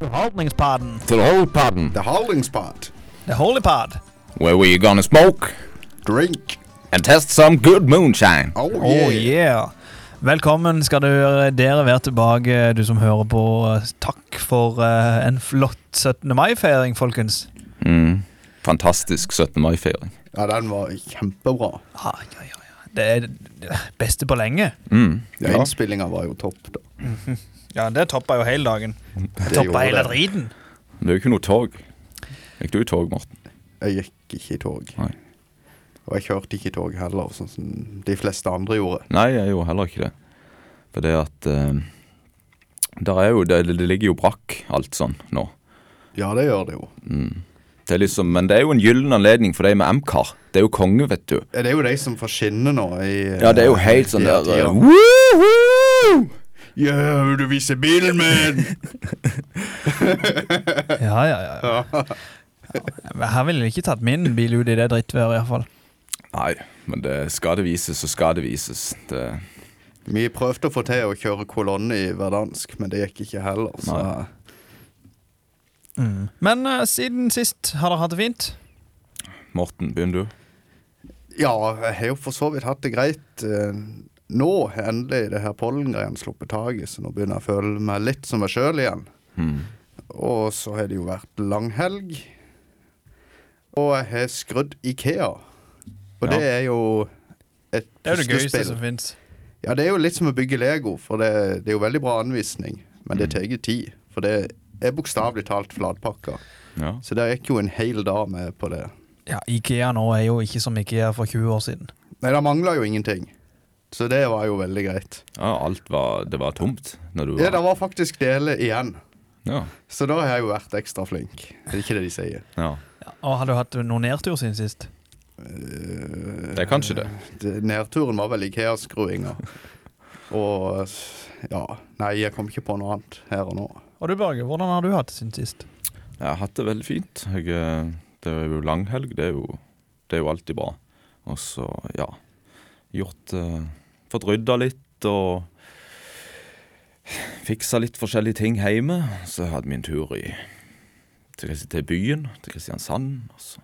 Underholdningspodden. to the whole pardon, The holding spot. The Holy Pod. where we're gonna smoke Drink. and test some good moonshine. Oh, Oh yeah. yeah. Velkommen skal dere, dere være tilbake, eh, du som hører på. Takk for eh, en flott 17. mai-feiring, folkens. Mm. Fantastisk 17. mai-feiring. Ja, den var kjempebra. Ja, Ah, ja, ja, ja. Det er det beste på lenge. Mm. Ja. Ja. Innspillinga var jo topp, da. Ja, det toppa jo hele dagen. Det gjorde toppa hele Mm. det. driten. Det er jo ikke noe tog. Gikk du i tog, Morten? Jeg gikk ikke i tog. Nei. Og jeg kjørte ikke i tog heller, sånn som de fleste andre gjorde. Nei, jeg gjorde heller ikke det. For det at eh, der er jo, det, det ligger jo brakk, alt sånn, nå. Ja, det gjør det jo. Det er liksom, men det er jo en gyllen anledning for deg med MCAR. Det er jo konge, vet du. Det er jo de som får skinne nå i Ja, det er jo helt sånn i der uh. tida. eh, woohoo! Ja, vil du vise bilen min? Ja, ja, ja. ja. men Her ville jeg ikke tatt min bil ut i det drittværet, iallfall. Nei, men det skal det vises, så skal det vises. Det, Vi prøvde å få til å kjøre kolonne i verdansk, men det gikk ikke heller. Så Nei. Mm. Men eh, siden sist, har dere hatt det fint? Morten, begynn du. ja, jeg har jo for så vidt hatt det greit. eh, Nå har endelig det her pollengreiene sluppet taket, så nå begynner jeg å føle meg litt som meg sjøl igjen. Mm. Og så har det jo vært langhelg. Og jeg har skrudd Ikea. Og Ja. det er jo et Det er jo det gøyeste altså. puslespill. som fins. Ja, det er jo litt som å bygge Lego, for det, det er jo veldig bra anvisning. Mm. Men det tar tid, for det er bokstavelig talt flatpakka. Ja. Så der gikk jo en hel dag med på det. Ja, Ikea nå er jo ikke som Ikea for 20 år siden. Nei, det mangla jo ingenting. Så det var jo veldig greit. Ja, alt var Det var tomt når du Ja, det var var faktisk deler igjen. Ja. Så da har jeg jo vært ekstra flink. Er det ikke det de sier? ja. Ja, og har du hatt noen nedtur siden sist? Eh, Det er kanskje det. Det- Nedturen var vel Ikea-skruinga. Og ja Nei, jeg kom ikke på noe annet her og nå. Og du Børge, hvordan har du hatt det siden sist? Jeg har hatt det veldig fint. Jeg, eh, det er jo langhelg, det er jo, det er jo alltid bra. Og så, ja Gjort eh, Fått rydda litt og fiksa litt forskjellige ting hjemme. Så jeg hadde min tur i, til, Kristi- til byen, til Kristiansand. Og så,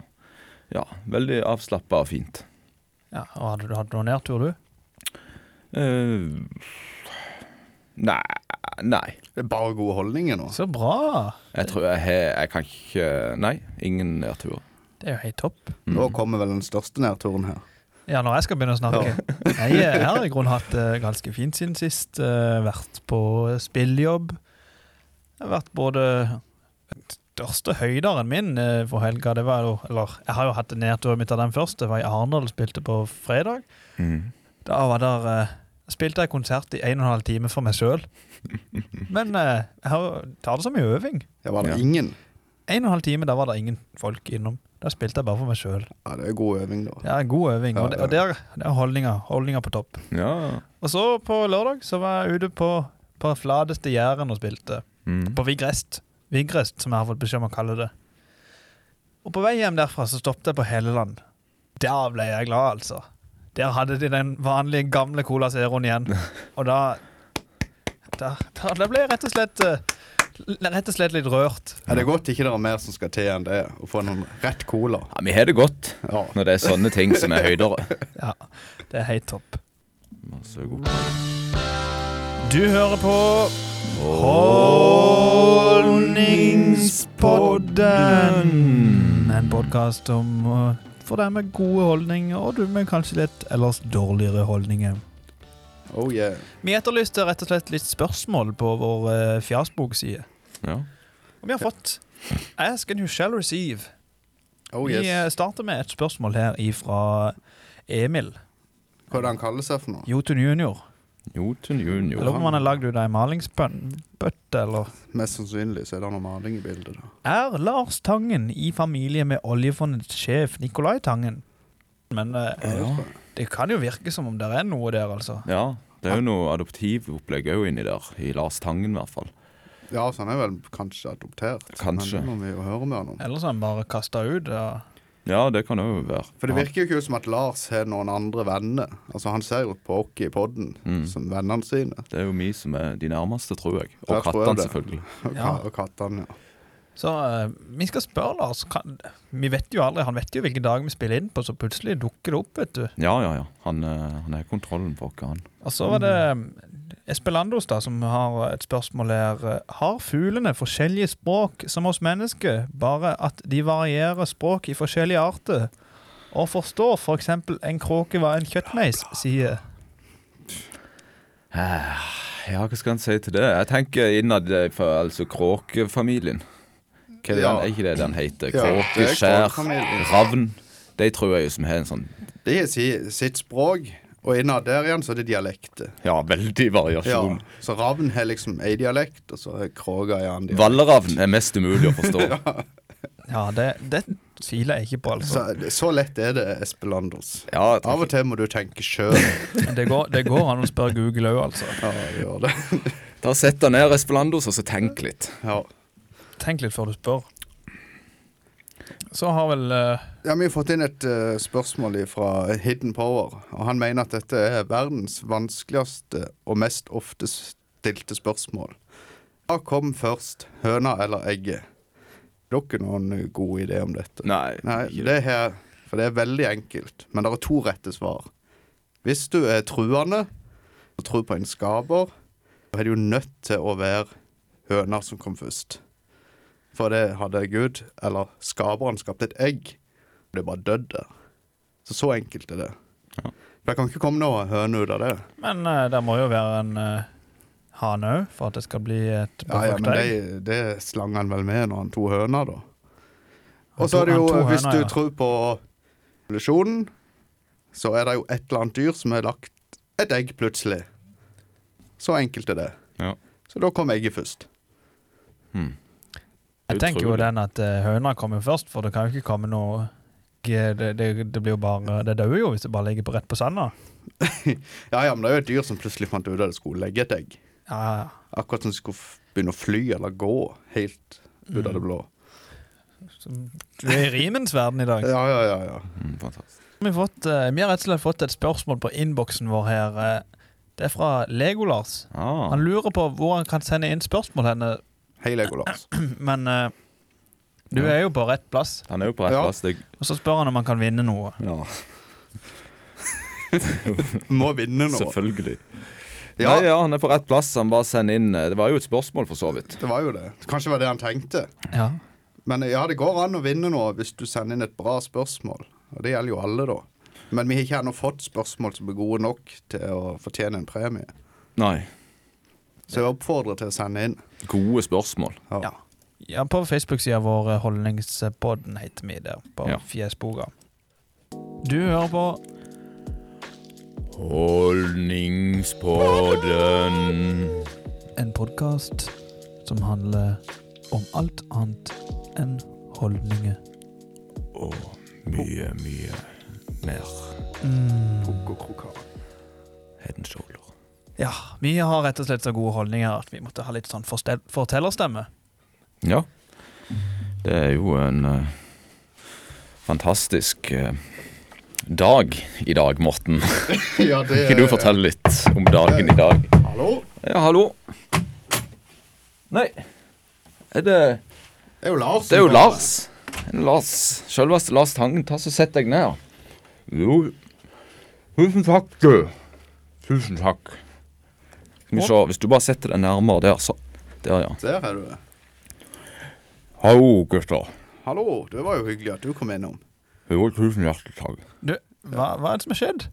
ja, veldig avslappa og fint. Ja, og Hadde du hatt noen nedtur, du? eh nei, nei. Det er bare gode holdninger nå. Så bra! Jeg tror jeg har Jeg kan ikke Nei, ingen nedtur. Det er jo helt topp. Mm. Nå kommer vel den største nedturen her. Ja, når jeg skal begynne å snakke. Jeg, eh, har i grunnen hatt det ganske fint siden sist. Eh, Vært på spilljobb. Jeg har vært både største høyderen min eh, for helga, det var jo Eller, jeg har jo hatt nedturen min av den første. Det var i Arendal og spilte på fredag. Mm. Da var der eh, Spilte jeg konsert i en og en halv time for meg sjøl. Men eh, jeg har, jo- tar det som en øving. Det var det Ja. ingen. En og en halv time, der var det ingen folk innom. Der spilte jeg bare for meg sjøl. Ja, det er god øving, da. Ja, god øving. Og, Ja, det, og der, der er holdninga. Holdninga på topp. Ja. Og så på lørdag så var jeg ute på, på flateste Jæren og spilte. Mm. På Vigrest. Vigrest, som jeg har fått beskjed om å kalle det. Og på vei hjem derfra så stoppet jeg på Helleland. Der ble jeg glad, altså. Der hadde de den vanlige gamle Cola Zeroen igjen. Og da Da, da, da ble jeg rett og slett eh, Rett og slett litt rørt. Ja, det er godt ikke det er mer som skal til enn det. Å få noen rett cola. ja vi har det godt Ja. når det er sånne ting som er høydere. Ja, det er helt topp. Masse god- Du hører på Holdningspodden. En podkast om eh, for deg med gode holdninger, og du med kanskje litt ellers dårligere holdninger. Oh yeah. Vi etterlyste rett og slett litt spørsmål på vår eh, fjasbok-side. Ja. Og vi har fått Ask and you shall receive. Oh Vi eh, yes. starter med et spørsmål her ifra Emil Hva er det han kaller seg for noe? Jotun junior. Jotun Jeg junior. lurer på om han er lagd ut av ei malingsbøtte, eller Mest sannsynlig så er det noe maling i bildet. da. Er Lars Tangen i familie med oljefondets sjef Nicolai Tangen? Men eh, Ja. det kan jo virke som om det er noe der, altså. ja. Det er jo noe adoptivopplegg òg inni der. I Lars Tangen, i hvert fall. Ja, så han er vel kanskje adoptert. Kanskje. Men det må vi jo høre med han om. Ellers er han bare kasta ut. Ja. Ja, det kan òg være. For det virker jo ikke som at Lars har noen andre venner. Altså Han ser jo på oss i podden Mm. som vennene sine. Det er jo vi som er de nærmeste, tror jeg. Ja, Og jeg tror jeg kattene, det. selvfølgelig. Og, Ja. ka og kattene, ja. Så eh, vi skal spørre Lars. Kan, vi vet jo aldri, Han vet jo hvilken dag vi spiller inn på, så plutselig dukker det opp. vet du. Ja, ja, ja. Han, eh, han har kontrollen på oss, han. Og så var det Espelandos da, som har et spørsmål her. Har fuglene forskjellige språk som oss mennesker, bare at de varierer språk i forskjellige arter? Og forstår f.eks. For en kråke hva en kjøttmeis sier? Eh, Ja, hva skal en si til det? Jeg tenker innad i for, altså kråkefamilien. Hva er, det Ja. den, er ikke det den heter? Ja, Kråke, det er skjær, kråkefamilien. ravn. De tror jeg jo som har en sånn De har si, sitt språk, og innad der igjen så er det dialekter. ja, veldig Ja, variasjon. så ravn har liksom ei dialekt, og så har kråka en annen dialekt. Valeravn er mest umulig å forstå. Ja, det, det tviler jeg ikke på, altså. Så, så lett er det, Espelandos. Ja, jeg Av tror og til må du tenke sjøl. Men Det går, det går an å spørre Google òg, altså. Ja, det gjør det. ikke- Da sett deg ned, Espelandos, og så tenk litt. Ja. Tenk litt før du spør. Så har vel eh, Ja, Vi har fått inn et eh, spørsmål fra Hidden Power. og Han mener at dette er verdens vanskeligste og mest ofte stilte spørsmål. Hva kom først, høna eller egget? Har dere noen gode ideer om dette? Nei, ikke- det her, for det er veldig enkelt, men det er to rette svar. Hvis du er truende og tror på en skaper, så er du jo nødt til å være høna som kom først. For det hadde Gud, eller skaperen, skapt et egg, og det bare døde. Så så enkelt er det. Ja. For det kan ikke komme noe høne ut av det. Men eh, det må jo være en eh, hane òg, for at det skal bli et Ja, ja, men befruktet egg. det, det slang han vel med når han tok høna, da. Han Og så tok- er det jo, han tok hvis høna, du ja. tror på evolusjonen, så er det jo et eller annet dyr som har lagt et egg plutselig. Så enkelt er det. Ja. Så da kom egget først. Hmm. Jeg tenker jo Utrolig. den at eh, høna kommer først, for det kan jo ikke komme noe det, det, det blir jo bare Det dauer jo hvis det bare ligger på rett på sanda. Ja, ja, men det er jo et dyr som plutselig fant ut at det skulle legge et egg. Ja, ja. Akkurat som det skulle f- begynne å fly eller gå helt ut av det blå. Mm. Så Du er i rimens verden i dag. Ja, ja, ja. ja. Hmm, fantastisk. Vi har, fått, eh, vi har rett og slett fått et spørsmål på innboksen vår her. eh. Det er fra Lego-Lars. Ah. Han lurer på hvor han kan sende inn spørsmål henne, Hei, Legolas. men eh, du Ja. er jo på rett plass. Han er jo på rett Ja. plass. Det, Og så spør han om han kan vinne noe. ja, Må vinne nå. selvfølgelig. Ja, Nei, ja, han er på rett plass. Han bare sender inn eh, Det var jo et spørsmål, for så vidt. det var jo det. Kanskje det var det han tenkte. Ja. Men ja, det går an å vinne nå hvis du sender inn et bra spørsmål. Og det gjelder jo alle, da. Men vi har ikke ennå fått spørsmål som er gode nok til å fortjene en premie. Nei. Så jeg oppfordrer til å sende inn. Gode spørsmål. Ja. Ja. Ja, på Facebook-sida vår, eh, Holdningspodden, heter vi der, på Ja. Fjesboga. Du hører på Holdningspodden. en podkast som handler om alt annet enn holdninger. Og mye, mye mer. Head and shoulder. Ja, vi har rett og slett så gode holdninger at vi måtte ha litt sånn forstel- fortellerstemme. Ja. Det er jo en eh, fantastisk eh, dag i dag, Morten. ja, det Kan du fortelle litt om dagen i dag? Hallo? Ja, hallo. Nei Er det Det er jo Lars. Det er jo Lars. En Lars. Selveste Lars Tangen. Ta så Sett deg ned. Jo. Tusen takk, du. Tusen takk. Skal vi se, hvis du bare setter deg nærmere der, så. Der, ja. Der er du. Hallo, gutter. Hallo. Det var jo hyggelig at du kom innom. Jo, tusen hjertelig takk. Du, hva, hva er det som har skjedd?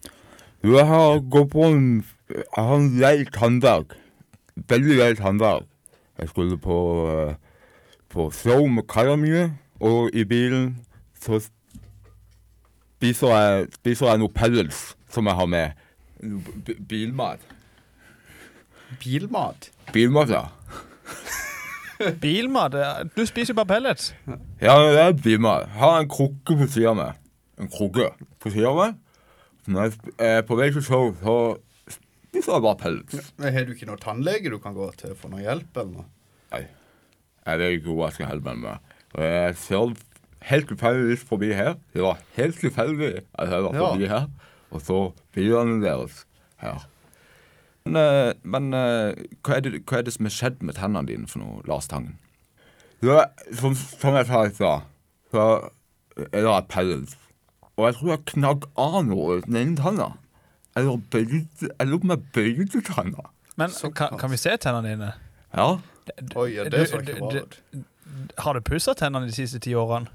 Du, jeg har gått på en eh, Jeg har en lei tannverk. Veldig lei tannverk. Jeg skulle på eh, På show med kaia mine, og i bilen så spiser jeg, spiser jeg noe pellets som jeg har med. B- b- Bilmat. Bilmat. Bilmat, ja. Bilmat? eh, Du spiser jo bare pellets. Ja, det er bilmat. Jeg har en krukke på sida av meg. En krukke på sida av meg. Når jeg sp- er på vei til show, så spiser jeg bare pellets. Men Har du ikke noen tannlege du kan gå til for noe hjelp, eller noe? Nei. Jeg vet ikke hvor jeg skal holde meg med. Og jeg ser helt tilfeldigvis forbi her. Det var helt tilfeldig at jeg var Ja. forbi her. Og så bilene deres her. Men, eh, men eh, hva, er det, hva er det som er skjedd med tennene dine for noe, Lars Tangen? Så, som, som jeg sa i stad, så er det appellens. Og jeg tror jeg knagg av noe i den ene tanna. Eller bøyde Jeg lurer på om jeg bøyde tanna. Men Så kan, kan vi se tennene dine? Ja. Oi, ja, Du- det så ikke du- bra du- ut. Har du pussa tennene de siste ti årene?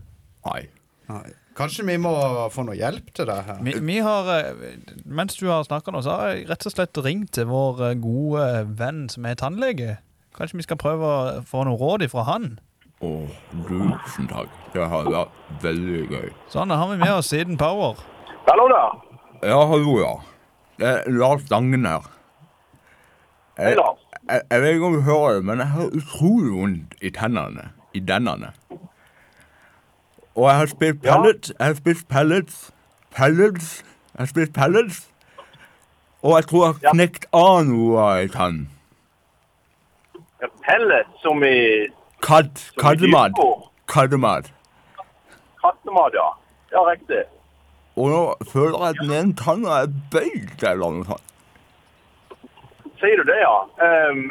Nei. Nei. Kanskje vi må få noe hjelp til det her. Vi, vi har, eh, mens du har snakka nå, så har jeg rett og slett ringt til vår eh, gode venn som er tannlege. Kanskje vi skal prøve å få noe råd ifra han? Å, tusen takk. Det har vært veldig gøy. Sånn, da har vi med oss Siden Power. Hallo der. Ja, hallo, ja. Det er Lars Stangen her. Hei, Jeg, Lars. jeg, jeg vet ikke om du hører det, men jeg har utrolig vondt i tennene. I dennene. Og jeg har spist Ja. pellets. Jeg har spist pellets. Pellets. Jeg har spist pellets. Og jeg tror jeg Ja. har knekt av noe i tannen. Ja, Pellet som i Katt. Som i Kattemat. dyrefôr. Kattemat. kattemat, ja. Ja, riktig. Og nå føler jeg at den ene tanna er bøyd eller noe sånt. Sier du det, ja? Ehm,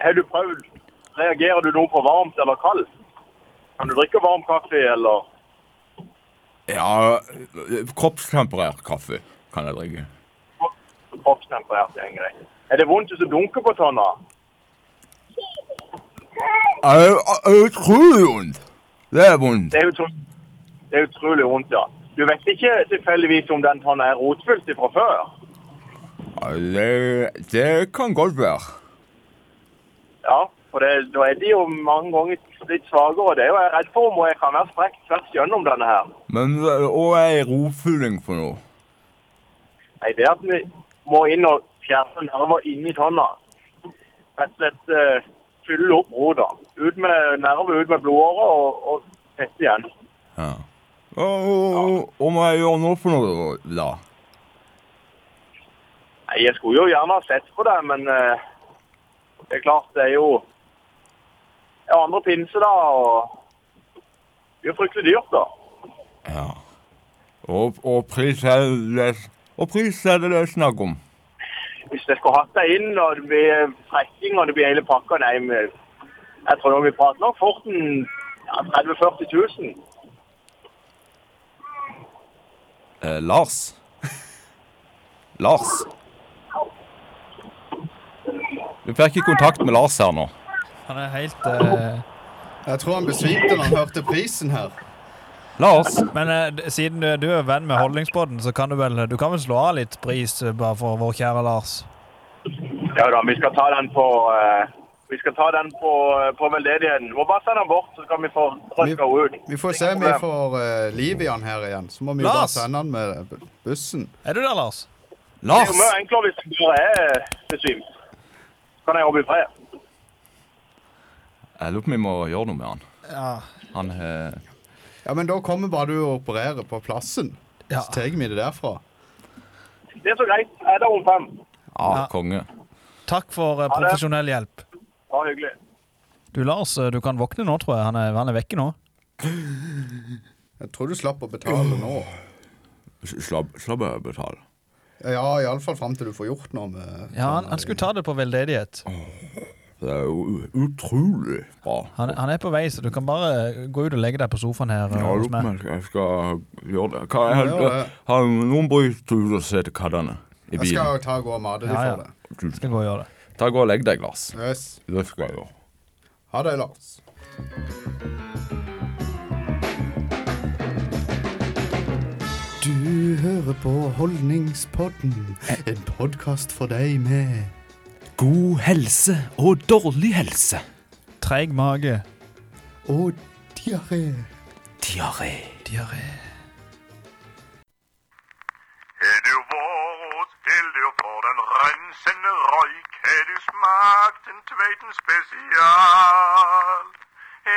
har du prøvd Reagerer du noe på varmt eller kaldt? Kan du drikke varm kaffe, eller Ja, kroppstemperert kaffe kan jeg drikke. kroppstemperert? det er greit. Er det vondt hvis du dunker på tanna? Jeg er utrolig vondt. Det er vondt. Det er, utro det er utrolig vondt, ja. Du vet ikke tilfeldigvis om den tanna er rotfylt fra før? Ja, Det, det kan godt være. Ja, for det, da er de jo mange ganger litt svakere. Det er jo jeg er redd for, og jeg kan være strekt tvers gjennom denne her. Men hva er rofylling for noe? Nei, det er at vi må inn og fjerne nerver inni tanna. Rett og slett eh, fylle opp roda. Ut med nerver, ut med blodårer og, og tette igjen. Ja. Og, og, og må jeg gjøre noe for noe, da? Nei, jeg skulle jo gjerne ha sett på det, men eh, det er klart det er jo det er andre pinse da, og det er jo fryktelig dyrt da. Ja. Og, og pris er det Og pris er det det er snakk om. Hvis jeg skulle hatt deg inn, og det blir trekking, og det blir hele pakka, nei, men jeg tror nå vi prater nok fort en ja, 30 000-40 000. Eh, Lars? Lars? Vi fikk ikke kontakt med Lars her nå. Han er helt eh, Jeg tror han besvimte når han hørte prisen her. Lars? Men eh, d- siden du, du er venn med Holdningsbåten, så kan du vel Du kan vel slå av litt pris eh, bare for vår kjære Lars? Ja da, vi skal ta den på eh, Vi skal ta den på, eh, på veldedigheten. Vi må bare sende den bort, så skal vi få røska henne ut. Vi får se om vi får eh, liv i han her igjen. Så må vi jo bare Lars! sende han med bu- bussen. Er du der, Lars? Det er jo mye enklere hvis jeg bare er besvimt. Så kan jeg jobbe i fred. Jeg lurer på om vi må gjøre noe med han. Ja. Han eh, Ja, men da kommer bare du og opererer på plassen. Ja. Så tar vi det derfra. Det er så greit. Jeg er der om fem. ah, Ja. konge. Takk for eh, Ha det. profesjonell hjelp. Ha det hyggelig. Du, Lars, eh, du kan våkne nå, tror jeg. Han er, han er vekke nå. Jeg tror du slapp å betale nå. Slapp, slapp av å betale. Ja, iallfall fram til du får gjort noe med sånn. Ja, han, han skulle ta det på veldedighet. Det er jo u- utrolig bra. Han, han er på vei, så du kan bare eh, gå ut og legge deg på sofaen her. eh, Jeg hos lurer på meg. om jeg skal- jeg skal gjøre det. Hva, jeg, Ja, jeg, det- har noen brukt ut og sett kattene i Jeg skal bilen? jo ta og gå og mate de Ja, ja. for det. Skal gå og gjøre det. Ta og gå og Legg deg, Lars. Yes. Det skal jeg gjøre. Ha det, Lars. Du hører på Holdningspodden, en podkast for deg med God helse og dårlig helse. Treig mage. og diaré. Diaré. Diaré. Har du vært heldig og får den rensende røyk? Har du smakt en Tveiten spesial?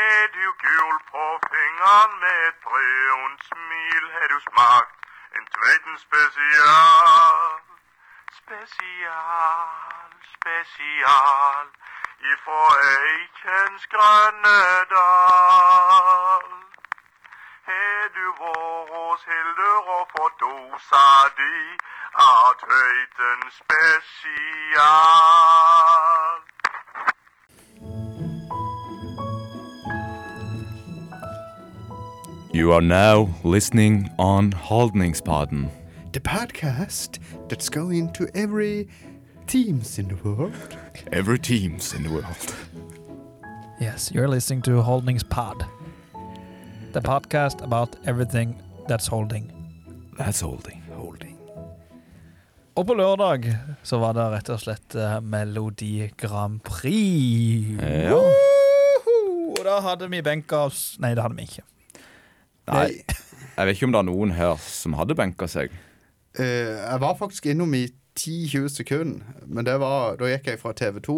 Er du gul på fingeren med et brunt smil? Har du smakt en Tveiten spesial? Spesial, spesial ifra Eikens grønne dal. Har du vært hos Hildur og fått dosa di av Tøyten spesial? You are now listening on Holdningspodden. The podcast that's going to every teams in the world. Every teams in the world. Yes, you're listening to Holdings Pod, the podcast about everything that's holding. That's holding. Og på lørdag så var det rett og slett eh, Melodi Grand Prix. Ja. Woohoo! Og da hadde vi benka oss Nei, det hadde vi ikke. Nei, jeg vet ikke om det er noen her som hadde benka seg. Eh, jeg var faktisk innom i 10-20 sekunder, men det var, da gikk jeg fra TV2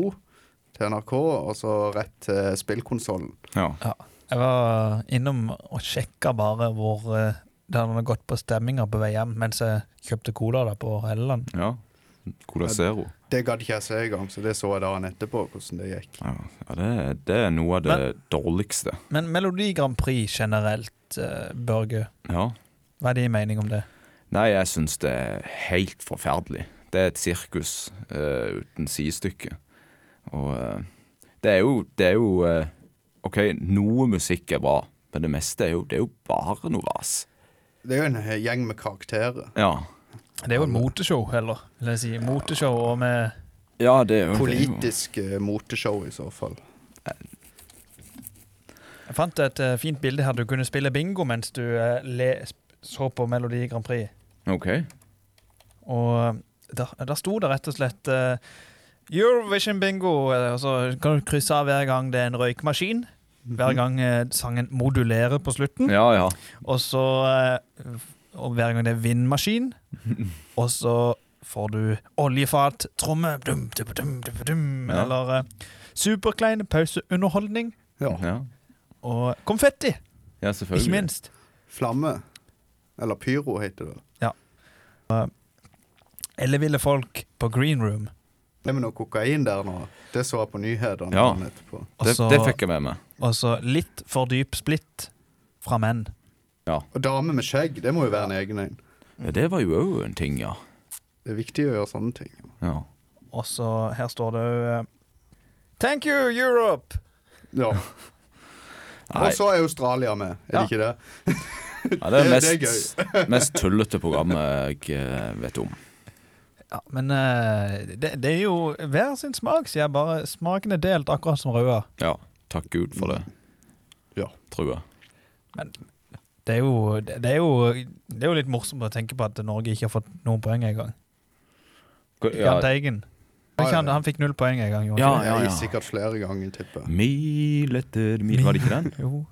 til NRK og så rett til spillkonsollen. Ja. Ja. Jeg var eh, innom og sjekka bare hvor eh, det hadde gått på stemminger på vei hjem mens jeg kjøpte cola da på Helleland. ja. Cola Zero. Det gadd ikke jeg se i gang, så det så jeg dagen etterpå hvordan det gikk. Ja, ja det, det er noe av det dårligste. Men Melodi Grand Prix generelt, eh, Børge, Ja. hva er din mening om det? Nei, jeg syns det er helt forferdelig. Det er et sirkus eh, uten sidestykke. Og eh, det er jo, det er jo eh, OK, noe musikk er bra, men det meste er jo, det er jo bare noe vas. Det er jo en øh, gjeng med karakterer. Ja. Det er jo et moteshow, heller, vil jeg si. Moteshow og med ja, det er jo Politisk eh, moteshow, i så fall. Jeg fant et eh, fint bilde her. Du kunne spille bingo mens du eh, le, sp- så på Melodi Grand Prix. OK. Og eh, der, der sto det rett og slett eh, Eurovision bingo. eh, Og så kan du krysse av hver gang det er en røykmaskin. Hver gang eh, sangen modulerer på slutten. Mhm. Ja, ja. Og så eh, og hver gang det er vindmaskin. Og så får du oljefat, tromme, dum, dum, dum, dum, dum, Ja. eller eh, superklein pauseunderholdning. Ja, Og konfetti, ja ikke selvfølgelig. minst. Flamme. Eller pyro, heter det. Eller ville folk på green room. Det med noe kokain der nå, det så jeg på nyhetene Ja. dagen etterpå. Det, Også- det fikk jeg med meg. Og så litt for dyp splitt fra menn. Og dame med skjegg, det må jo være en egen en. Ja, det var jo òg en ting, ja. Det er viktig å gjøre sånne ting. ja. Og så her står det eh, Thank you, Europe! Ja. Nei, Og så er Australia med, er det Ja. ikke det? ja, det er det- det er mest, mest tullete programmet jeg eh, vet om. Ja, Men eh, det, det er jo hver sin smak, sier jeg bare. Smaken er delt, akkurat som røde. Ja, takk Gud for det. Ja. Tror jeg. Det er, jo, det, det er jo, det er jo litt morsomt å tenke på at Norge ikke har fått noen poeng engang. Jahn Teigen. Ikke Han, han fikk null poeng en gang. gjorde Ja, han Jeg er sikkert flere ganger, tipper jeg. Mil etter mil Var det ikke den? ikke? Jo,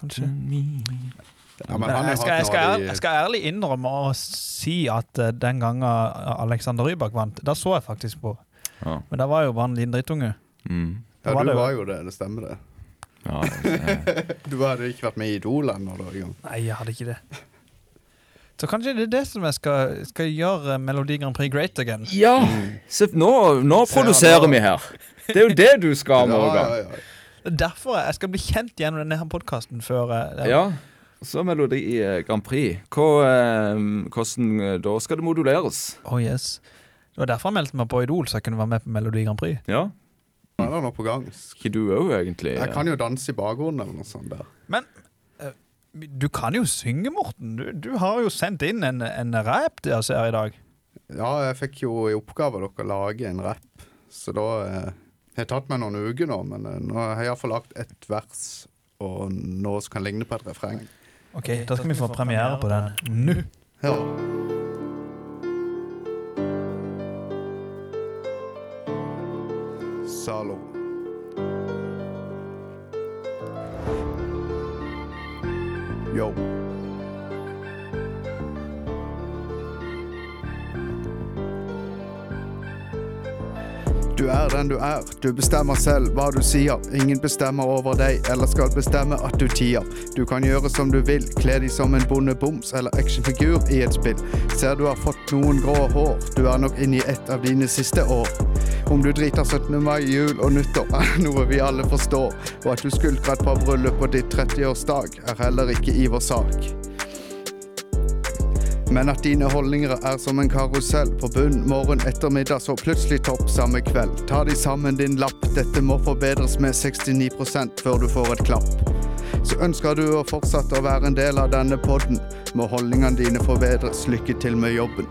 kanskje. Mm. Ja, men Men han har jeg, skal, jeg, hatt noe skal, av de- jeg skal ærlig innrømme å si at eh, den gangen Alexander Rybak vant, da så jeg faktisk på. Ja. Men da var jo bare en liten drittunge. Mm. Da var Ja, det du jo- var jo det, det stemmer det. Ja, eh, Du hadde ikke vært med i Idol ennå da engang. Nei, jeg hadde ikke det. Så kanskje det er det som jeg skal, skal gjøre eh, Melodi Grand Prix great again. ja. Se, nå, nå Se her, produserer nå. vi her. Det er jo det du skal, Ja, ja, Morgan. ja. Det er derfor jeg skal bli kjent gjennom denne her podkasten før eh, jeg Ja. Så Melodi eh, Grand Prix. Hva, eh, hvordan eh, Da skal det moduleres. Oh yes. Det var derfor jeg meldte meg på Idol, så jeg kunne være med på Melodi Grand Prix. Ja. Nå er det noe på gang. Ikke du òg, egentlig? Jeg kan jo danse i bakgrunnen eller noe sånt der. Men eh, du kan jo synge, Morten. Du, du har jo sendt inn en, en rap til oss her i dag. Ja, jeg fikk jo i oppgave dere å lage en rapp, så da eh, Jeg har tatt meg noen uker nå, men eh, nå har jeg iallfall lagt ett vers og noe som kan ligne på et refreng. Ok, Da skal vi få premiere på den nå. Ja. Zalo. Yo. Du er den du er, du bestemmer selv hva du sier. Ingen bestemmer over deg, eller skal bestemme at du tier. Du kan gjøre som du vil, kle deg som en bondeboms eller actionfigur i et spill. Ser du har fått noen grå hår, du er nok inne i et av dine siste år. Om du driter 17. mai, jul og nyttår, er noe vi alle forstår. Og at du skulker et par bryllup på ditt 30-årsdag, er heller ikke i vår sak. Men at dine holdninger er som en karusell. På bunn, morgen, ettermiddag, så plutselig topp samme kveld. Ta de sammen, din lapp. Dette må forbedres med 69 før du får et klapp. Så ønsker du å fortsette å være en del av denne podden. Må holdningene dine forbedres. Lykke til med jobben.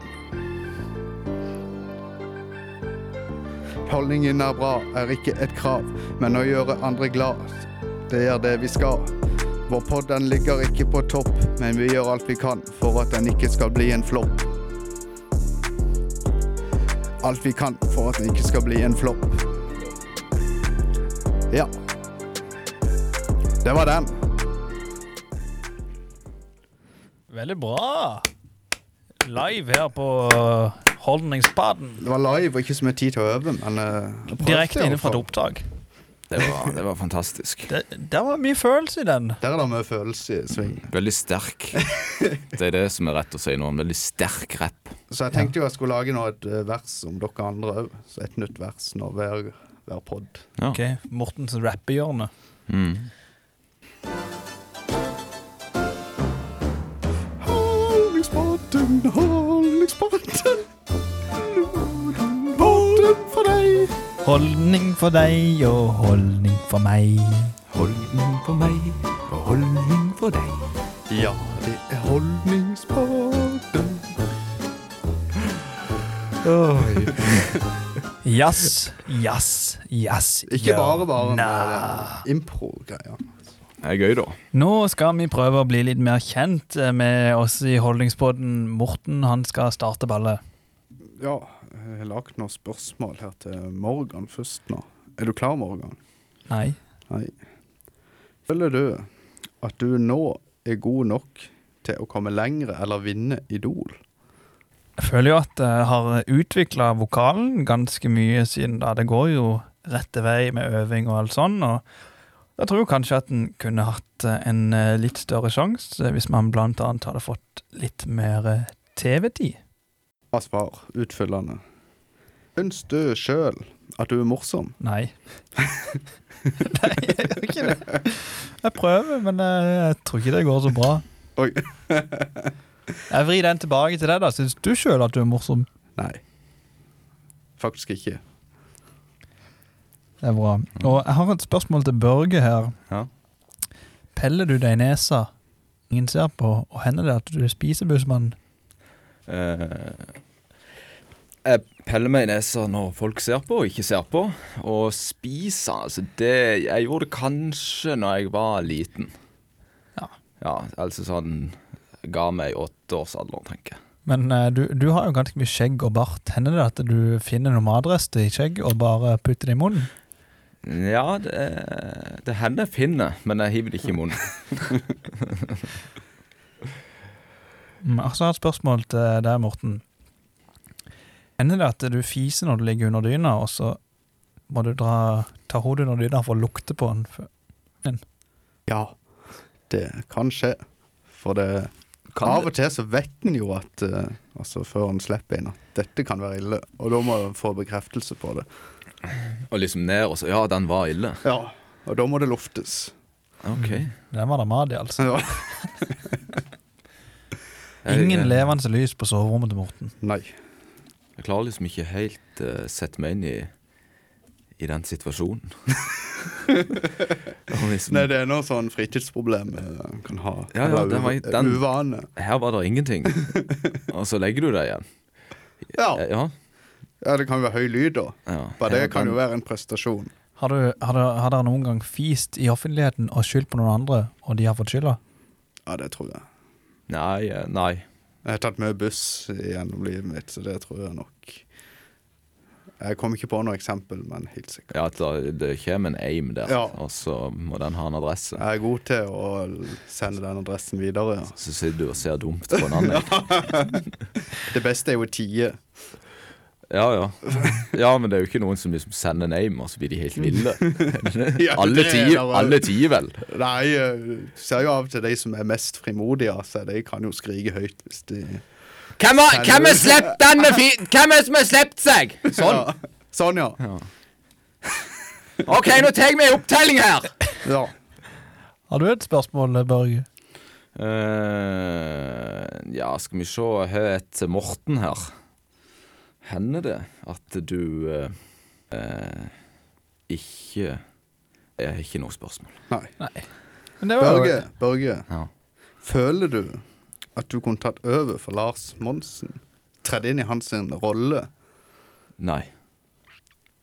Holdningen er bra er ikke et krav, men å gjøre andre glad, det er det vi skal. Vår podd den ligger ikke på topp, men vi gjør alt vi kan for at den ikke skal bli en flopp. Alt vi kan for at den ikke skal bli en flopp. Ja. Det var den. Veldig bra. Live her på Holdningsbaden. Det var live og ikke så mye tid til å øve, men eh, jeg prøvde i Direkte alle inne fra et fall. opptak. Det var, det var fantastisk. Det, det var mye følelse i den. Der er det mye følelse i sving. Veldig sterk. Det er det som er rett å si nå. En veldig sterk rapp. Så jeg tenkte jo jeg skulle lage nå et eh, vers om dere andre òg. Så et nytt vers nå hver, hver pod. Ja. Ok, Mortens rappehjørne. Mm. Holdningspotten, holdningspotten. Potten for deg. Holdning for deg og holdning for meg. Holdning for meg og holdning for deg. Ja, det er holdningspotten. Jazz, jazz, jazz. Ikke ja. bare bare med Nei. eh, impro-greier. Det er gøy, da. Nå skal vi prøve å bli litt mer kjent eh, med oss i Holdningspodden. Morten han skal starte ballet. Ja, jeg har lagd noen spørsmål her til Morgan først nå. Er du klar, Morgan? Nei. Nei. Føler du at du nå er god nok til å komme lengre eller vinne Idol? Jeg føler jo at jeg har utvikla vokalen ganske mye siden da. Det går jo rette vei med øving og alt sånn. Og jeg tror kanskje at en kunne hatt eh, en eh, litt større sjanse hvis man blant annet hadde fått litt mer eh, TV-tid. Hva svar utfyllende? Syns du sjøl at du er morsom? Nei. Nei, jeg gjør ikke det. Jeg prøver, men eh, jeg tror ikke det går så bra. Oi. Jeg vrir den tilbake til deg, da. Syns du sjøl at du er morsom? Nei. Faktisk ikke. Det er bra. Og jeg har et spørsmål til Børge her. Ja. Peller du deg i nesa ingen ser på, og hender det at du er spisebussmann? Eh, jeg peller meg i nesa når folk ser på og ikke ser på. Og spiser, altså det Jeg gjorde det kanskje når jeg var liten. Ja. ja altså sånn Ga meg i åtteårsalderen, tenker jeg. Men eh, du, du har jo ganske mye skjegg og bart. Hender det at du finner noen matrester i skjegg og bare putter det i munnen? Ja, det, det hender jeg finner, men jeg hiver det ikke i munnen. Mm, og så har jeg et spørsmål til deg, Morten. Hender det at du fiser når du ligger under dyna, og så må du dra, ta hodet under dyna for å lukte på den? før- Ja, det kan skje. For det Kan Av det- og til så vet en jo at eh, Altså før en slipper inn at dette kan være ille, og da må en få bekreftelse på det. Og liksom ned og så Ja, den var ille. Ja, Og da må det luftes. OK. Den var da Madi, altså. Ja. Jeg- Ingen jeg- levende lys på soverommet til Morten. Nei. Jeg klarer liksom ikke helt uh, sette meg inn i, i den situasjonen. Og liksom, Nei, det er noe sånn fritidsproblem eh, en kan ha. Ja, ja, Eller den var i- u- den- Uvane. Her var det ingenting. Og så legger du deg igjen. Ja. Eh, Ja. ja, det kan jo være høy lyd, da. ja. Bare det Her kan den- jo være en prestasjon. Har, du, har, dere- har dere noen gang fist i offentligheten og skyldt på noen andre, og de har fått skylda? Ja, det tror jeg. Nei, eh, nei. Jeg har tatt mye buss gjennom livet mitt, så det tror jeg nok. Jeg kom ikke på noe eksempel, men helt sikkert. Ja, at da- det kommer en aim der, Ja. og så må den ha en adresse. Jeg er god til å l- sende den adressen videre. Ja. Så sitter du og ser dumt på en annen. Det beste er jo tie. Ja, ja. Ja, men det er jo ikke noen som liksom sender en aim, og så blir de helt ville. Ja, Alle det er tier, da- alle tier vel. Nei, eh, du ser jo av og til de som er mest frimodige, altså. De kan jo skrike høyt hvis de Hvem har hvem har slept den med fi... Hvem er det som har slept seg? Sånn. Ja. Sånn, ja. OK, nå tar jeg med opptelling her. ja. Har du et spørsmål, Børge? Eh, ja, skal vi se. Jeg har et til Morten her. Hender det at du eh, eh, ikke Jeg har ikke noe spørsmål. Nei. Nei. Men det var jo Børge, Børge. Ja. Føler du at du kunne tatt over for Lars Monsen? Tredd inn i hans sin rolle? Nei.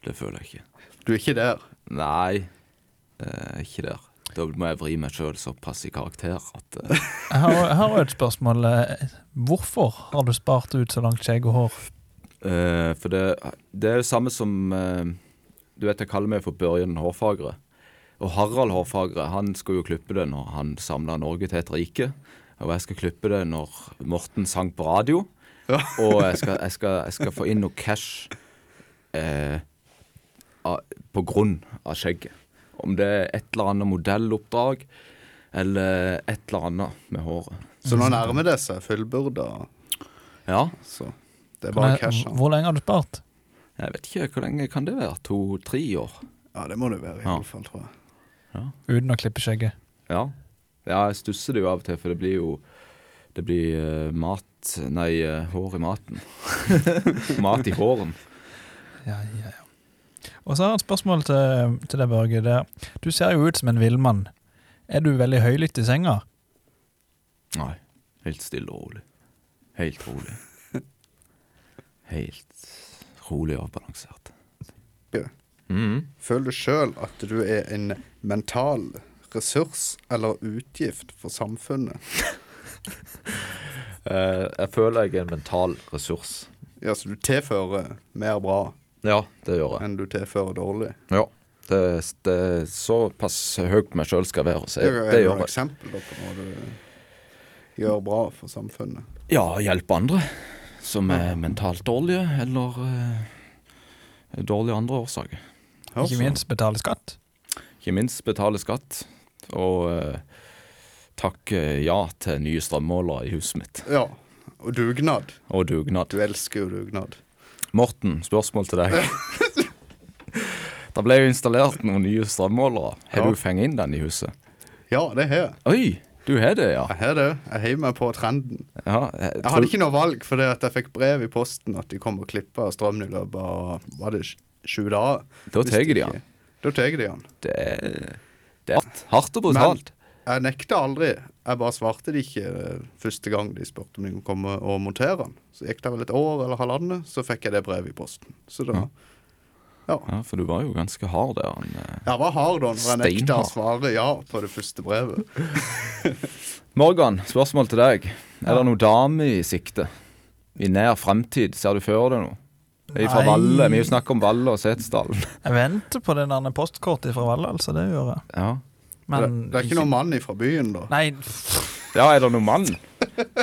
Det føler jeg ikke. Du er ikke der. Nei, eh, ikke der. Da må jeg vri meg sjøl såpass i karakter at eh, Jeg har jeg har jo et spørsmål. eh, Hvorfor har du spart ut så langt skjegg og hår? Eh, for det, det er jo samme som eh, Du vet jeg kaller meg for Børjen Hårfagre. Og Harald Hårfagre han skulle jo klippe det når han samla Norge til et rike. Og jeg skal klippe det når Morten sang på radio. Og jeg skal, jeg, skal, jeg skal få inn noe cash eh, av, på grunn av skjegget. Om det er et eller annet modelloppdrag eller et eller annet med håret. Så nå nærmer det seg fullbyrda. Ja, Så det er bare Nei, cash. da. Hvor lenge har du spart? jeg vet ikke hvor lenge kan det være? To-tre år? Ja, det må det være, i Ja. hvert fall, tror jeg. Uten å klippe skjegget. Ja. ja, jeg stusser det jo av og til, for det blir jo Det blir eh, mat Nei, eh, hår i maten. mat i håren. Ja, ja, ja. Og så har jeg et spørsmål til, til deg, Børge. Det er, du ser jo ut som en villmann. Er du veldig høylytt i senga? Nei. Helt stille og rolig. Helt rolig. Helt rolig og avbalansert. Ja. Mhm. Føler du sjøl at du er en mental ressurs eller utgift for samfunnet? Eh, jeg føler jeg er en mental ressurs. Ja, så du tilfører mer bra Ja, det gjør jeg. enn du tilfører dårlig. Ja. Det, det er såpass høyt meg sjøl skal være, så Det jeg, er det jo gjør et jeg. eksempel da på hva du gjør bra for samfunnet. Ja, hjelpe andre som er mentalt dårlige, eller eh, dårlige andre årsaker. Ikke minst betale skatt? Ikke minst betale skatt, og eh, takke ja til nye strømmålere i huset mitt. Ja. Og dugnad. Og dugnad. Du elsker jo dugnad. Morten, spørsmål til deg. Det ble jo installert noen nye strømmålere. Har Ja. du fengt inn den i huset? Ja, det har jeg. Oi, du har det, ja. Jeg har det. Jeg heiv meg på trenden. ja jeg, Jeg hadde ikke noe valg, fordi at jeg fikk brev i posten at de kom og klippa strømmen i løpet av var det sj- sju dager. Da Hvis tar de ikke- han. Da tar de han. Det er, det er hardt og brutalt. Jeg nekta aldri. Jeg bare svarte de ikke eh, første gang de spurte om de kunne komme og montere den. Så gikk det vel et år eller halvannet, så fikk jeg det brevet i posten. Så da Ja. Ja, for du var jo ganske hard der. Han, eh, Jeg var hard da når jeg nekta å Steinhard. svare ja på det første brevet. Morgan, spørsmål til deg. Er det noen dame i sikte? I nær fremtid, ser du før deg noe? Det er fra Nei. Valle. Vi har jo snakket om Valle og Setesdalen. Jeg venter på den andre postkortet fra Valle, altså. Det gjør jeg. Ja. Det, Men det er ikke noen mann fra byen, da. Nei, ja, er det noen mann?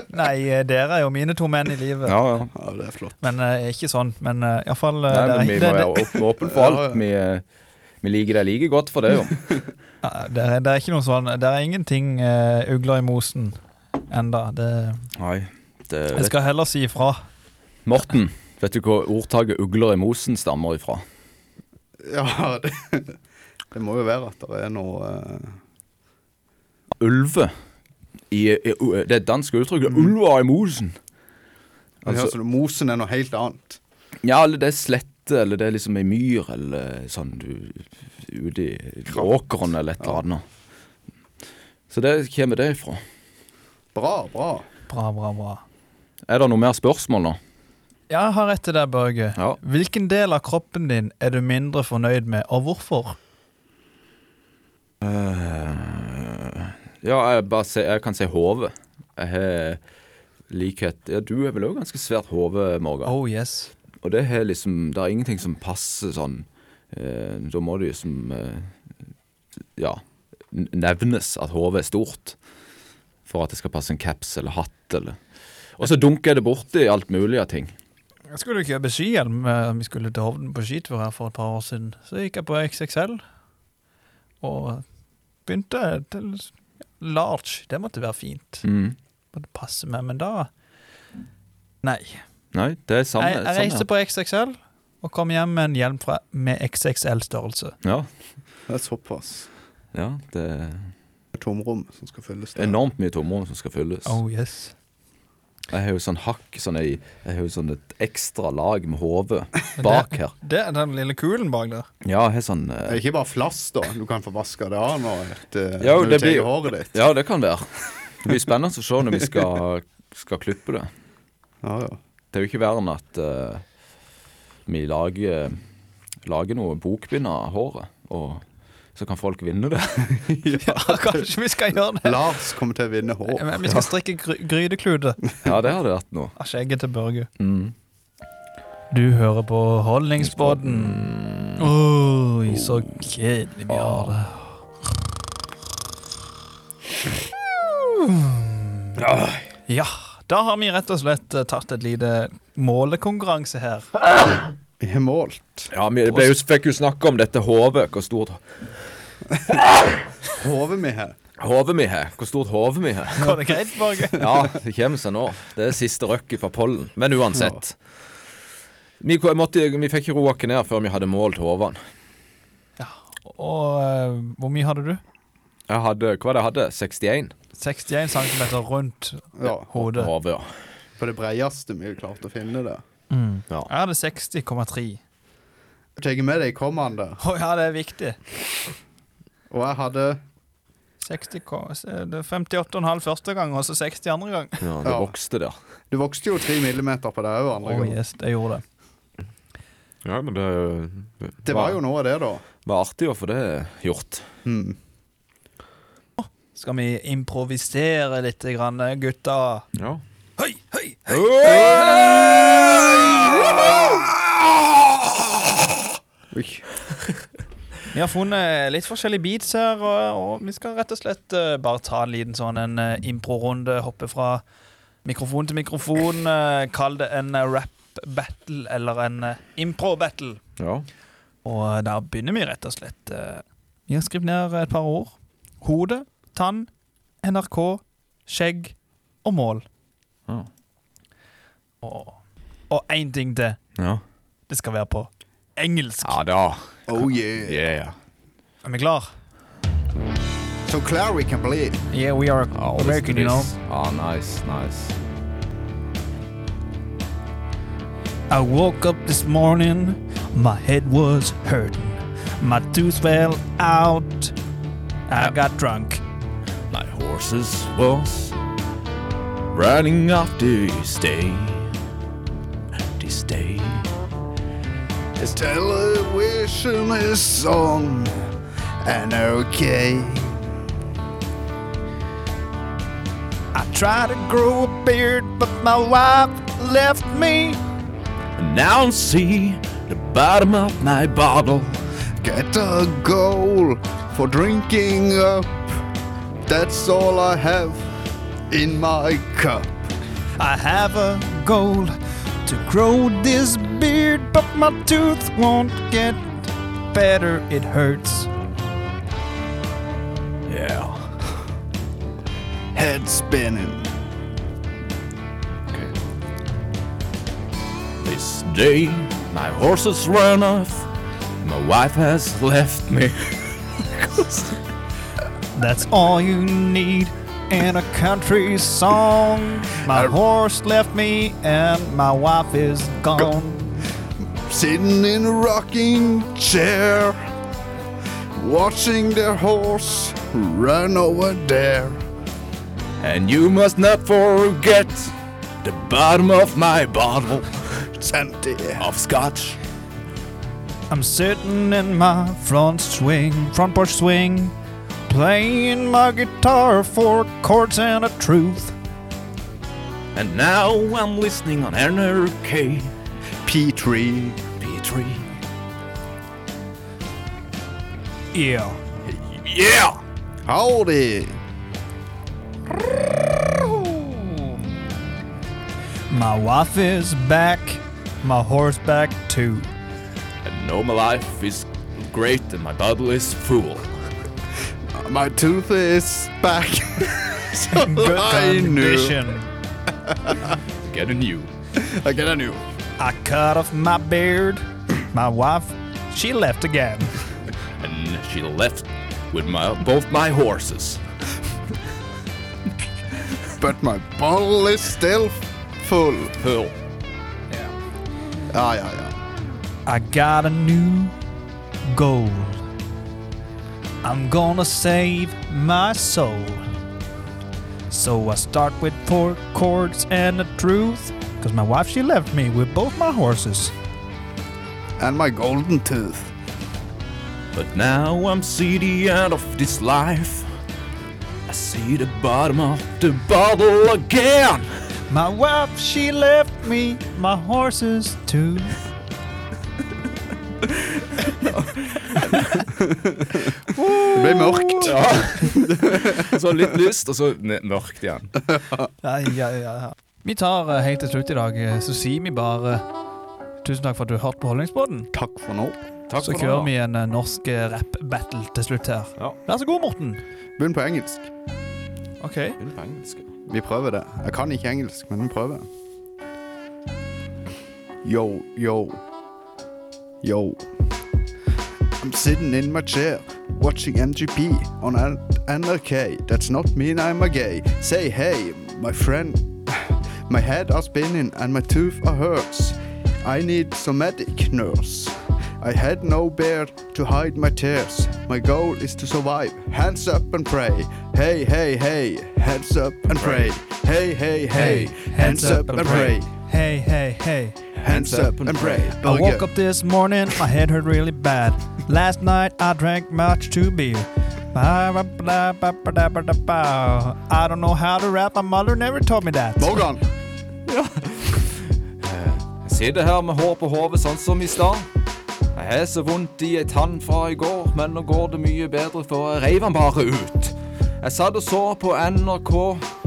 nei, eh, dere er jo mine to menn i livet. Ja, ja. Ja, det er flott. Men eh, ikke sånn. Men eh, iallfall Nei, men vi må være åp- åpen for Ja, ja. alt. Vi, eh, vi liker deg like godt for det, jo. Ja, det, er, det er ikke noe sånn Det er ingenting eh, ugler i mosen enda. Det, Nei. Det, jeg skal heller si ifra. Morten, vet du hvor ordtaket 'ugler i mosen' stammer ifra? Ja, det, det må jo være at det er noe eh, Ulve. I, i, det er et dansk uttrykk. 'Ulver i mosen'. ja, så det- Mosen er noe helt annet. Ja, eller det er slette, eller det er liksom ei myr, eller sånn du ute i åkeren, eller et eller annet. Så det kommer det ifra. Bra, bra. Bra, bra, bra. Er det noe mer spørsmål nå? Jeg har rett til deg, Børge. Ja. Hvilken del av kroppen din er du mindre fornøyd med, og hvorfor? Ja, jeg, bare se, jeg kan si hodet. Jeg har likhet Ja, du er vel òg ganske svært hode, Morgan. Oh yes. Og det har liksom Det er ingenting som passer sånn. Eh, da må det liksom eh, Ja. n- Nevnes at hodet er stort. For at det skal passe en caps eller hatt eller Og så dunker jeg det borti alt mulig av ting. Jeg skulle kjøpe skihjelm. eh, Vi skulle til Hovden på skitur her for et par år siden. Så gikk jeg på XXL og begynte til large. Det måtte være fint. Mm. Måtte passe meg, men da Nei. Nei, det er samme. jeg, jeg samme reiste på XXL og kom hjem med en hjelm fra, med XXL-størrelse. Ja, Det er såpass ja, det er tomrom som skal fylles. der. enormt mye tomrom som skal fylles. yes. Jeg har jo sånn hakk sånn ei, Jeg har jo sånn et ekstra lag med hodet bak her. Det er den lille kulen bak der. Ja, jeg har sånn eh, Det er ikke bare flass, da. Du kan få vaska det av når, et, eh, Jo, når du det tar blir- håret ditt. Ja, det kan være. Det blir spennende å se når vi skal, skal klippe det. Ja, ja. Det er jo ikke verre enn at eh, vi lager, lager noe bokbind av håret, og så kan folk vinne det. Ja, kanskje vi skal gjøre det? Lars kommer til å vinne hår. Men vi skal strikke gry grytekluter Ja, det hadde vært noe. av skjegget til Børge. Mm. Du hører på Holdningsbåten. Oi, så kjedelig vi har det. Ja, da har vi rett og slett eh, tatt et lite målekonkurranse her. Vi har målt. Ja, vi ble jo, fikk jo snakke om dette hodet, hvor stort Hodet vi har. hodet vi har. Hvor stort hodet vi har. Går det greit, Børge? Ja, det kommer seg nå. Det er siste røkket fra pollen. Men uansett. Vi, ko- måtte, vi fikk ikke roa oss ned før vi hadde målt hodene. Og eh, hvor mye hadde du? Jeg hadde, hva var det jeg hadde? 61 61 cm rundt Ja, hodet. hode, ja. på det bredeste vi har klart å finne det. Jeg hadde 60,3. Tar med deg kommaen der. Å ja, det er viktig. Og jeg hadde 60, ko- s- det er 58,5 første gang, og så 60 andre gang. ja. Det Ja. vokste der. Du vokste jo tre millimeter på det òg andre Å, gang. yes, det gjorde det. Ja, men det, Det var jo noe av det, da. var artig å få det gjort. Mm. Skal vi improvisere litt, grann, gutta? Ja. Høy, høy! Oi. Vi har funnet litt forskjellige beats her, og, og vi skal rett og slett eh, bare ta en liten sånn en eh, improrunde. Hoppe fra mikrofon til mikrofon. eh, kall det en eh, rap-battle eller en eh, impro-battle. ja. Og eh, der begynner vi rett og slett. eh, Vi har skrevet ned et par ord. Hode, tann, NRK, skjegg og mål. Ja. Og og én ting til. Ja. Det skal være på engelsk. ja da. Oh yeah. Yeah. Er vi klar? So clear we can believe. Yeah, we are Ja, og American, you know. visst. Ja, Ah, nice, nice. I woke up this morning, my head was hurting. My tooth fell out. I got drunk. My horses was running off this day. This day. This television is on and okay. I tried to grow a beard, but my wife left me. And now I see the bottom of my bottle. Get a goal for drinking up. That's all I have in my cup. I have a goal to grow this beard, but my tooth won't get better. It hurts. Yeah. Head spinning. Okay. This day, my horses run off. My wife has left me. That's all you need in a country song. My horse left me and my wife is gone. Sitting in a rocking chair. Watching their horse run over there. And you must not forget the bottom of my bottle It's empty. of scotch. I'm sitting in my front swing, front porch swing, playing my guitar, four chords and a truth. And now I'm listening on NRK P3. P3. Yeah. Yeah! Howdy. My wife is back, my horse back too. And know my life is great and my bottle is full. My tooth is back. so Good I knew. condition. Get a new. I get a new. I cut off my beard. My wife, she left again. And she left with my both my horses. But my bottle is still full. Ah, Full. Ja, ja, ja. I got a new goal. I'm gonna save my soul. So I start with four chords and the truth. Cause my wife, she left me with both my horses. And my golden tooth. But now I'm see the end of this life. I see the bottom of the bottle again. My wife, she left me my horses too. Det ble mørkt. Så litt lyst, og så ne- mørkt igjen. Nei, ja, ja, ja. Vi tar eh, helt til slutt i dag, eh, så sier vi bare tusen takk for at du hørte på Holdningsbåten. Takk for nå. Takk Så kjører vi en eh, norsk eh, rap-battle til slutt her. Ja. Vær så god, Morten. Begynn på engelsk. Ok. Vi prøver det. Jeg kan ikke engelsk, men vi prøver. Yo, yo. Yo. I'm sitting in my chair watching MGP on an NRK. That's not mean I'm a gay. Say hey, my friend. My head are spinning and my tooth are hurts. I need some medic nurse. I had no beard to hide my tears. My goal is to survive. Hands up and pray. Hey, hey, hey. Hands up and pray. Hey, hey, hey. Hands up and pray. Oh, Hey, hey, hey. Hands up and pray. I woke up this morning, my head hurt really bad. Last night I drank much too beer. I don't know how to rap, my mother never taught me that. Morgan. Jeg sitter her med hår på hodet, sånn som i stad. Jeg har så vondt i ei tann fra i går, men nå går det mye bedre, for jeg reiv den bare ut. Jeg satt og så på NRK,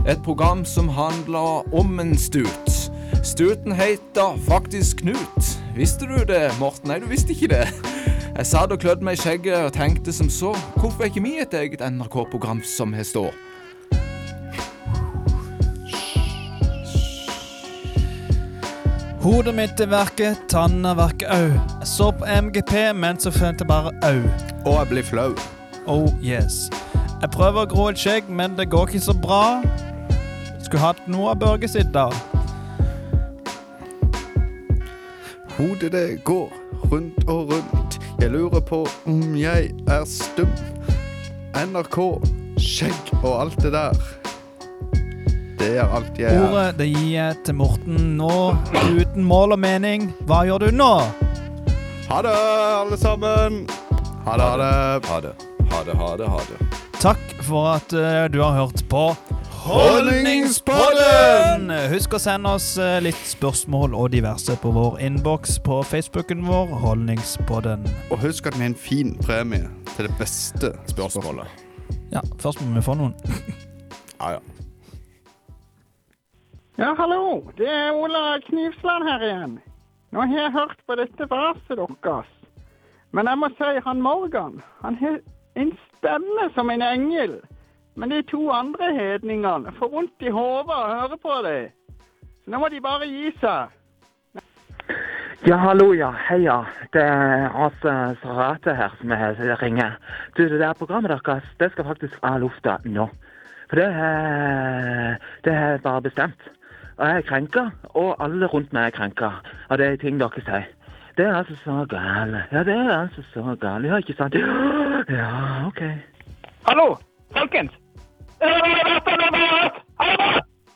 et program som handla om en stut. Stuten heter faktisk Knut. Visste du det, Morten? Nei, du visste ikke det. Jeg satt og klødde meg i skjegget og tenkte som så, hvorfor er ikke vi et eget NRK-program som har stå? Hodet mitt er verket, tanna verker au. Jeg så på MGP, men så følte jeg bare au. Og jeg blir flau. Oh yes. Jeg prøver å gro et skjegg, men det går ikke så bra. Skulle hatt noe av Børge sitt, da. Hodet det går rundt og rundt. Jeg lurer på om jeg er stum. NRK, skjegg og alt det der. Det er alt jeg er. Ordet det gir jeg til Morten nå, uten mål og mening. Hva gjør du nå? Ha det, alle sammen. Ha det, ha det. Ha det. Ha det, ha det, ha det. Takk for at eh, du har hørt på Holdningspodden! Husk å sende oss eh, litt spørsmål og diverse på vår innboks på Facebooken vår, Holdningspodden. Og husk at vi har en fin premie til det beste spørsmålet. Ja, først må vi få noen. Ja, ja. Ja, hallo. Det er Ola Knivsland her igjen. Nå har jeg hørt på dette raset deres. Men jeg må si han Morgan, han har en stemme som en engel. Men de to andre hedningene får vondt i hodet av å høre på det. Så nå må de bare gi seg. Ja, hallo, ja. Heia. Det er altså Sarate her som er- som ringer. Du, det der programmet deres, det skal faktisk av lufta nå. For det er, det er bare bestemt. Og jeg er krenka, og alle rundt meg er krenka av de ting dere sier. Det er altså så gale. Ja, det er altså så gale. Ja, ikke sant? Ja, OK. Hallo, folkens. Det er